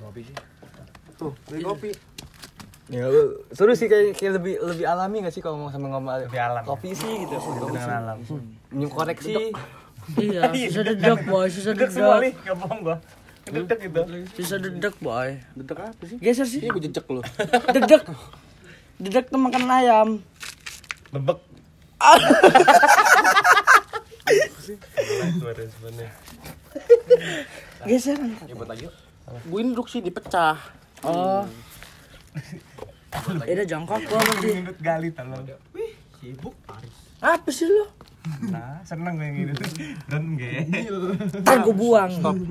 kopi sih Tuh, beli kopi. Ya lu seru sih kayak, kayak lebih lebih alami gak sih kalau ngomong sama ngomong Lebih alam. kopi sih gitu. Kopi dengan sih. alam Minum koreksi. Iya, susah dedek boy, susah duduk semua dedek. nih nggak bohong gua duduk gitu Susah dedek boy. Dedek apa sih? Geser sih. Ini gue Iya, jejek lu. Dedek. Dedek tuh makan ayam. bebek Gua responnya. Geser. Gue ini duduk sih dipecah. Oh. Beda jongkok gua mesti. Ngindut gali tolong Apa sih lu? nah seneng gue ngindut dan gue Ntar gua buang.